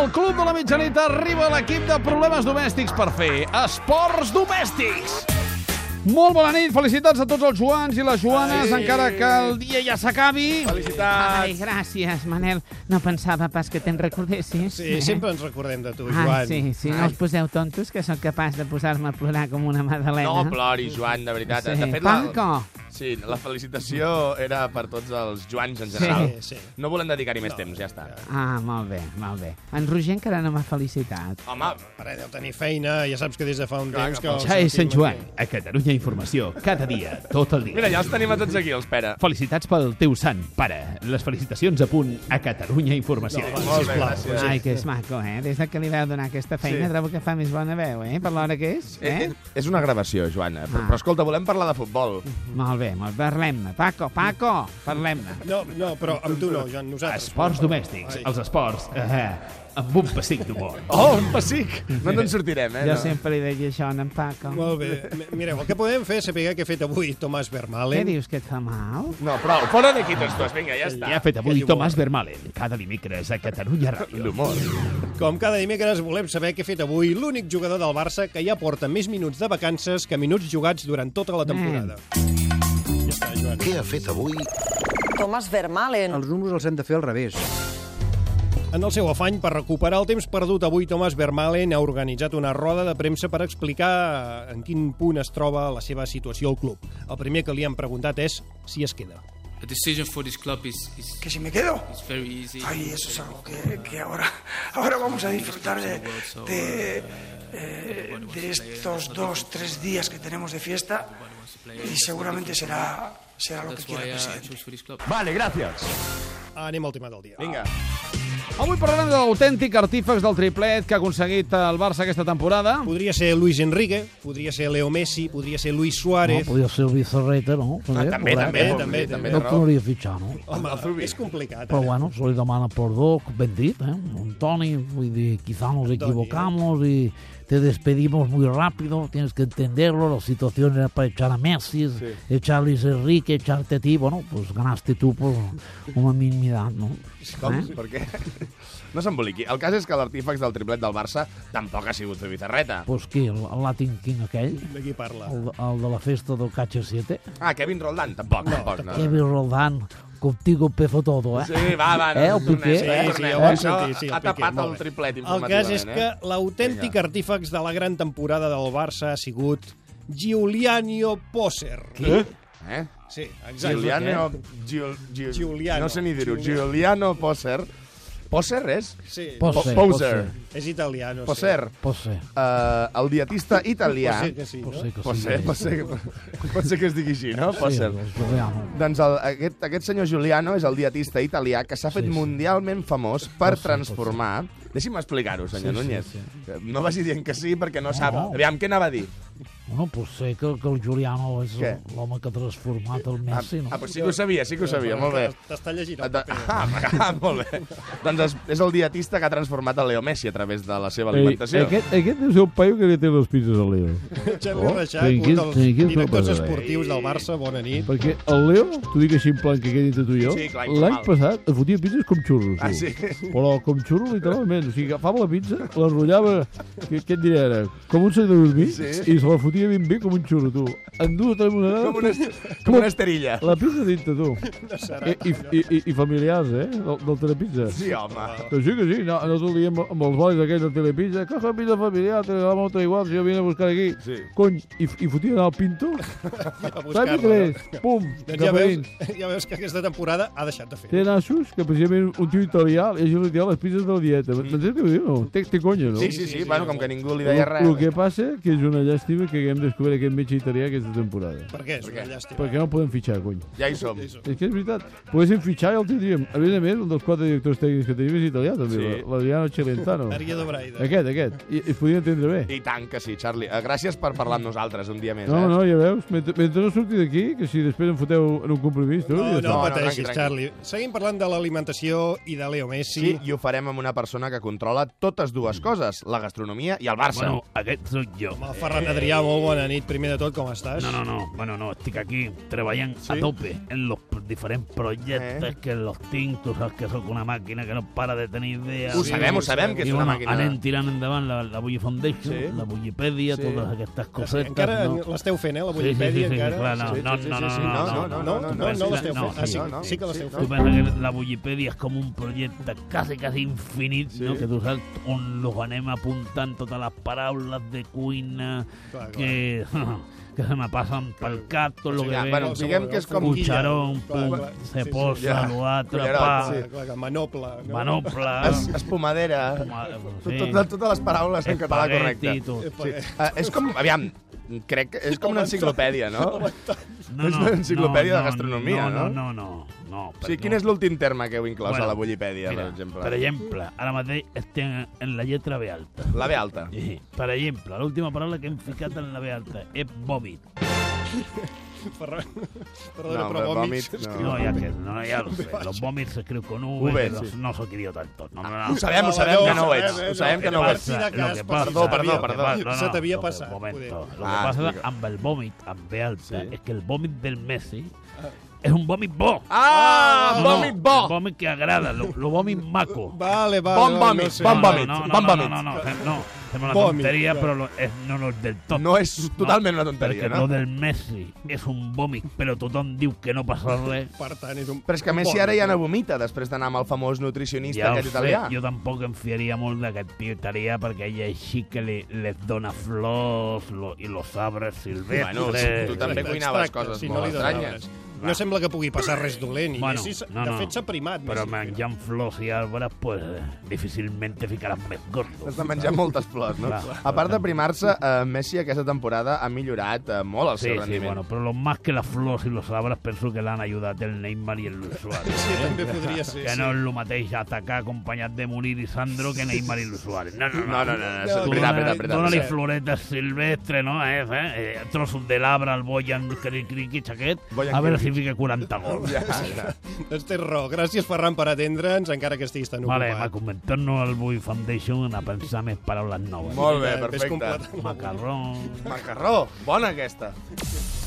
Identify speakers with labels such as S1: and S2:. S1: El Club de la Mitjanit arriba a l'equip de problemes domèstics per fer esports domèstics. Molt bona nit, felicitats a tots els Joans i les Joanes,
S2: Ai.
S1: encara que el dia ja s'acabi.
S3: Ai,
S2: Felicitats!
S3: gràcies, Manel. No pensava pas que te'n recordessis.
S2: Sí, sempre ens recordem de tu, Joan.
S3: Ai, Ah, sí, sí, no us poseu tontos, que sóc capaç de posar-me a plorar com una madalena.
S4: No ploris, Joan, de veritat.
S3: Sí.
S4: De fet,
S3: Panco!
S4: la, sí, la felicitació era per tots els Joans en general.
S2: Eh, Sí, sí.
S4: No volem dedicar-hi més
S2: No,
S4: temps, ja està.
S3: Ah, molt bé, molt bé. En Roger encara no m'ha felicitat.
S4: Home,
S2: Ara deu tenir feina, ja saps que des de fa un
S4: Clar,
S2: temps...
S4: que
S2: Que
S5: Ja és Sant Joan, a Catalunya Informació, cada dia, tot el dia.
S4: mira, ja els tenim a tots aquí, els Pere.
S5: Felicitats pel teu sant, pare. Les felicitacions a punt a Catalunya Informació.
S2: No,
S4: Molt bé,
S2: Sisplau.
S4: gràcies.
S3: Ai, que és maco, eh? Des de que li vau donar aquesta feina,
S4: Sí.
S3: trobo que fa més bona veu, eh? Per l'hora que és,
S4: Eh?
S3: eh?
S4: eh, És una gravació, Joana. Però,
S3: Ah.
S4: però escolta, volem parlar de futbol.
S3: Molt bé, molt bé. Parlem-ne. Paco, Paco, parlem-ne.
S2: No, no, però amb tu no, Joan, nosaltres.
S5: Esports domèstics, els esports, eh, amb un pessic d'humor.
S4: Oh, un pessic! No ens en sortirem, eh?
S3: Jo
S4: no?
S3: sempre li deia això a en Paco.
S2: Molt bé. M- Mireu, el que podem fer és saber què ha fet avui Tomàs
S3: Què
S2: Vermalen.
S3: dius, que et fa mal?
S4: No, prou. Fora d'aquí tots dos, vinga, ja està.
S5: Ja ha fet
S2: Que
S5: avui
S2: llumor.
S5: Tomàs Vermalen, cada dimecres a Catalunya Ràdio.
S4: L'humor.
S2: Com cada dimecres volem saber què ha fet avui l'únic jugador del Barça que ja porta més minuts de vacances que minuts jugats durant tota la temporada. Ja està, Joan.
S6: Què ha fet avui?
S7: Thomas Vermaelen.
S8: Els números els hem de fer al revés.
S2: En el seu afany per recuperar el temps perdut avui, Thomas Vermaelen ha organitzat una roda de premsa per explicar en quin punt es troba la seva situació al club. El primer que li han preguntat és si es queda.
S9: The decision for this club is, is,
S10: que si me quedo.
S9: is very easy.
S10: Ay, eso es algo que, que ahora, ahora vamos a disfrutar de, de, eh, de estos dos, tres días que tenemos de fiesta y seguramente será, será lo que
S9: That's
S10: quiera
S9: why
S10: el
S9: I
S10: presidente.
S9: choose for this club.
S4: Vale, gràcies.
S2: Anem al tema del dia.
S4: Vinga.
S1: Avui parlarem de l'autèntic artífex del triplet que ha aconseguit el Barça aquesta temporada.
S2: Podria ser Luis Enrique, podria ser Leo Messi, podria ser Luis Suárez...
S8: podria ser el Vicerreta, no?
S4: No, Ah, també, també,
S2: també,
S4: també,
S2: també.
S4: també,
S8: Eh? No
S4: raó.
S8: tornaria a fitxar, no?
S2: Home,
S4: Zubi.
S2: és complicat.
S8: Però
S2: eh?
S8: bueno, se li demana perdó, ben dit, eh? Un Toni, vull dir, quizá nos
S4: eh?
S8: equivocamos y te despedimos muy rápido, tienes que entenderlo, la situación era para echar a Messi, echar a Luis Enrique, echarte a ti, bueno, pues ganaste tú por una minimidad, ¿no?
S4: Com?
S8: Eh?
S4: Per què? No s'emboliqui. El cas és que l'artífex del triplet del Barça tampoc ha sigut Zubizarreta.
S8: Pues que el, el Latin King aquell,
S2: De qui parla?
S8: el, el de la festa del Cacha 7,
S4: Ah, Kevin Roldán, tampoc, tampoc. No.
S8: Kevin Roldán, contigo pezo todo, eh?
S4: Sí, va, va.
S8: Eh, el
S4: tornem,
S8: Piqué?
S2: Sí,
S4: eh,
S2: sí,
S4: tornem.
S2: ja ho vam
S4: Això
S2: sentir, sí, el
S4: ha
S2: Piqué,
S4: tapat
S2: molt
S4: el
S2: bé.
S4: triplet
S2: El cas és que
S4: informativament, eh?
S2: l'autèntic
S4: Vinga.
S2: artífex de la gran temporada del Barça ha sigut Giuliano Poser. Què?
S4: eh? eh?
S2: Sí, exacte.
S4: Giuliano... Giul, Giul,
S2: Giuliano.
S4: No sé ni dir-ho.
S2: Giuliano.
S4: Giuliano Poser. Poser és?
S2: Sí,
S8: Poser.
S4: Po-
S8: Poser,
S4: Poser.
S2: és italià, no sé.
S4: Poser.
S8: Pot ser,
S4: Eh, el dietista italià...
S2: Pot ser que sí, no?
S8: pot ser que
S4: Pot
S8: sí.
S4: ser, pot ser, que- pot ser que es digui així, no? Pot
S8: Sí, pues,
S4: ser.
S8: el Giuliano.
S4: Doncs el, aquest, aquest senyor Giuliano és el dietista italià que s'ha fet
S8: Sí, sí.
S4: mundialment famós per
S8: Pot ser,
S4: transformar... Deixi'm explicar-ho, senyor
S8: Sí, sí,
S4: Núñez.
S8: sí. Ah,
S4: No vagi dient que sí perquè no sap. Aviam, què anava a dir?
S8: Bueno, pot ser que, que el Giuliano és
S4: Què?
S8: l'home que ha transformat el Messi, no?
S4: Ah, però sí que ho sabia, sí que ho sabia, molt bé.
S2: T'està llegint el
S4: Ah,
S2: paper.
S4: ah, molt bé. Doncs és, és el dietista que ha transformat el Leo Messi a través de la seva alimentació.
S5: aquest és el paio que li té les pizzas al Leo.
S2: Xavi
S5: Oh,
S2: Reixac,
S5: sí,
S2: un
S5: quin-
S2: dels
S5: sí, quin
S2: directors
S5: paper, eh?
S2: esportius del Barça, bona nit.
S5: Perquè el Leo, t'ho dic així en plan que quedi entre tu i jo,
S4: Sí, clar,
S5: l'any
S4: informal.
S5: passat es fotia pizzas com xurros.
S4: Ah,
S5: tu.
S4: sí?
S5: Però com xurros literalment. O sigui, agafava la pizza, l'enrotllava, què, què et diré ara, com un sac de dormir,
S4: Sí.
S5: i se la fotia ben bé com un xurro, tu. En dues o tres monedes,
S4: Com una, com una esterilla.
S5: la pizza dintre, tu. I, i, i, i familiars, eh, del, del Telepizza.
S4: Sí, home.
S5: Que sí, que sí, no, no t'ho diem amb els bolis aquells del Telepizza, que és pizza familiar, te la otra igual, si jo vine a buscar aquí.
S4: Sí.
S5: Cony, i, i fotia anar al pinto,
S2: A buscar-la,
S5: Saps
S2: no?
S5: tres? Pum,
S2: Doncs
S5: cap
S2: ja
S5: a
S2: veus,
S5: dins.
S2: ja veus que aquesta temporada ha deixat de fer.
S5: Té nassos, que precisament un tio italià i això li diu les pizzas de la dieta. M'entens què vull dir? No? Té, té conya, no?
S4: Sí, sí, sí, bueno, com que ningú li
S5: El,
S4: deia res.
S5: el que passa que és una llàstima que haguem descobert aquest metge italià aquesta temporada.
S2: Per què? És
S4: Per
S2: una
S4: què?
S2: llàstima.
S5: Perquè no el podem fitxar, cony.
S4: Ja hi som.
S5: És que és veritat. Poguéssim fitxar i el tindríem. A més a més, un dels quatre directors tècnics que tenim és italià, també.
S4: Sí.
S5: Sí. L'Adriano Celentano.
S2: Maria de Braida.
S5: Aquest, aquest. I, es podria entendre bé.
S4: I tant que sí, Charlie. Eh, Gràcies per parlar amb nosaltres un dia més.
S5: No,
S4: eh?
S5: no, ja veus. Mentre, mentre no surti d'aquí, que si després em foteu en un compromís, tu...
S2: No,
S5: ja
S2: no
S5: està.
S4: no,
S2: pateixis,
S4: tranqui,
S2: Charlie. Seguim parlant de l'alimentació i de Leo Messi.
S4: Sí, i ho farem amb una persona que controla totes dues coses, la gastronomia i el Barça.
S5: aquest sóc jo.
S2: Home, Ferran Adrià vol molt bona nit, primer de tot, com estàs?
S8: No, no, no. Bueno, no, estic aquí treballant
S2: Sí?
S8: a tope en los p- diferents projectes
S4: Eh?
S8: que los tinc, tu saps que sóc una màquina que no para de tenir idees.
S4: Ho
S2: Sí,
S4: sabem, ho
S2: ho
S4: sabem, que
S8: I
S4: és
S8: bueno,
S4: una màquina.
S8: anem tirant endavant la, la Bulli Foundation,
S4: Sí.
S8: la Bullipedia,
S4: Sí.
S8: totes aquestes cosetes.
S2: encara
S8: no?
S2: l'esteu fent, eh, la
S8: Sí, sí,
S2: Wikipedia?
S8: sí, sí,
S2: encara?
S8: clar, no, no, no, no, no,
S4: no, no,
S2: no,
S4: no,
S2: no,
S4: no,
S2: no l'esteu
S8: no,
S2: fent. Ah,
S8: sí,
S2: sí,
S4: no,
S2: sí que l'esteu
S4: sí,
S8: Tu
S2: fent.
S8: pensa que la Wikipedia és com un projecte quasi, quasi infinit,
S4: Sí.
S8: no? que tu saps on los anem apuntant totes les paraules de cuina
S2: Clar, clar.
S8: que, que se me passen pel cap, tot lo
S4: sigui,
S8: que
S2: Ah,
S8: ve.
S4: bueno, diguem que és com
S8: Cucharón,
S2: Clar, clar,
S8: pu-
S2: sí, sí, Ah,
S8: ceposa,
S4: ja.
S8: lo altre,
S4: Cullerot,
S8: pa,
S4: sí.
S2: Clar, clar, clar, Manoble. no?
S8: manopla...
S4: Es, espumadera.
S8: ma- sí,
S4: Totes, totes les paraules en català
S8: espagueti,
S4: correcte.
S8: tot.
S2: Epa,
S4: Sí. Uh, és com, aviam, crec que és com una enciclopèdia, no?
S8: No,
S4: És
S8: no,
S4: una enciclopèdia
S8: no,
S4: de gastronomia, no?
S8: no? No, no, no. no
S4: O sigui,
S8: perdó.
S4: quin és l'últim terme que heu inclòs
S8: Bueno,
S4: a la Wikipedia,
S8: Mira,
S4: per exemple?
S8: Per exemple, ara mateix estem este en la lletra B alta.
S4: La B alta.
S8: Sí. Per exemple, l'última paraula que hem ficat en la B alta és vòmit.
S2: Ferran, Perdona,
S4: No,
S2: però
S4: però
S2: vòmits
S4: vòmits,
S2: s'escriu.
S8: No, ja que, no, ja ho sé. Los vòmits s'escriu con V,
S4: V,
S8: los,
S4: sí.
S8: no sóc idiota del tot. No, no,
S4: Ho
S8: no.
S4: sabem, ho sabem, que no ho ets. Ho sabem que no ho ets.
S2: Sí, de cas,
S8: lo que
S2: passa,
S4: perdó, perdó,
S8: lo que
S4: perdó.
S8: passa- no, no,
S2: Se t'havia
S8: lo que-
S2: passat,
S8: momento.
S2: poder.
S8: Lo que
S4: Ah,
S8: passa
S4: explica.
S8: amb el vòmit, amb B alta, és que el vòmit del Messi és un vòmit bo.
S4: Ah,
S8: No, no,
S4: vòmit bo!
S8: Un vòmit que agrada, lo, lo vòmit maco.
S2: Vale, vale.
S4: Bon
S2: no,
S4: vòmit,
S2: no sé.
S4: bon vòmit.
S8: No, no, no,
S4: Bon
S8: no,
S4: vòmit.
S8: no, no, no, no. Sembla una
S2: Vòmit,
S8: tonteria,
S2: clar.
S8: però lo- és, no, no és del tot.
S4: No és totalment una tonteria,
S8: perquè
S4: no?
S8: lo del Messi és un vòmit, però tothom diu que no passa res.
S2: Per tant, és un...
S4: Però és que a Messi ara ja no vomita després d'anar amb el famós nutricionista
S8: Ja ho
S4: aquest
S8: sé,
S4: italià.
S8: jo tampoc em fiaria molt d'aquest tio italià perquè ell així que li, les dona flors lo, i los arbres silvestres.
S4: Bueno, sí, tu també cuinaves
S2: Abstracte,
S4: coses
S2: sí, no
S4: molt
S2: li
S4: estranyes.
S2: donaves. No sembla que pugui passar res dolent. I
S8: Bueno,
S2: Messi, s-
S8: no,
S2: de
S8: no.
S2: fet, s'ha primat.
S8: Però
S2: Messi.
S8: menjant flors i arbres, pues, eh, difícilment te ficaran més
S4: Has
S8: gordos.
S4: de menjar moltes flors, no?
S8: Clar.
S4: A part de primar-se, eh, Messi aquesta temporada ha millorat eh, molt el
S8: Sí,
S4: seu
S8: sí,
S4: rendiment.
S8: bueno, però lo más que las flors y los arbres penso que l'han ajudat el Neymar i el Luis Suárez.
S2: Sí,
S4: eh?
S2: també podria ser.
S8: que
S2: sí.
S8: no és el mateix atacar acompanyat de Morir i Sandro que Neymar i Luis Suárez. No, no,
S4: No,
S8: no.
S4: no, no, no, és
S2: No,
S4: veritat,
S8: Dóna-
S4: veritat,
S8: Dóna-li
S4: veritat.
S8: floretes silvestres, no? Eh, eh? eh trossos de l'arbre al Boyan Criqui Chaquet.
S4: Boyan
S8: A veure
S4: Criqui.
S8: si fica 40 gols.
S4: Ja, ja.
S2: Doncs tens raó. Gràcies, Ferran, per atendre'ns, encara que estiguis tan
S8: Vale, va
S2: ocupat.
S8: comentar-nos al Boy Foundation a pensar més paraules noves.
S4: Molt bé,
S2: Ves
S4: perfecte.
S2: completant.
S8: Macarrón...
S4: Macarró, bona aquesta.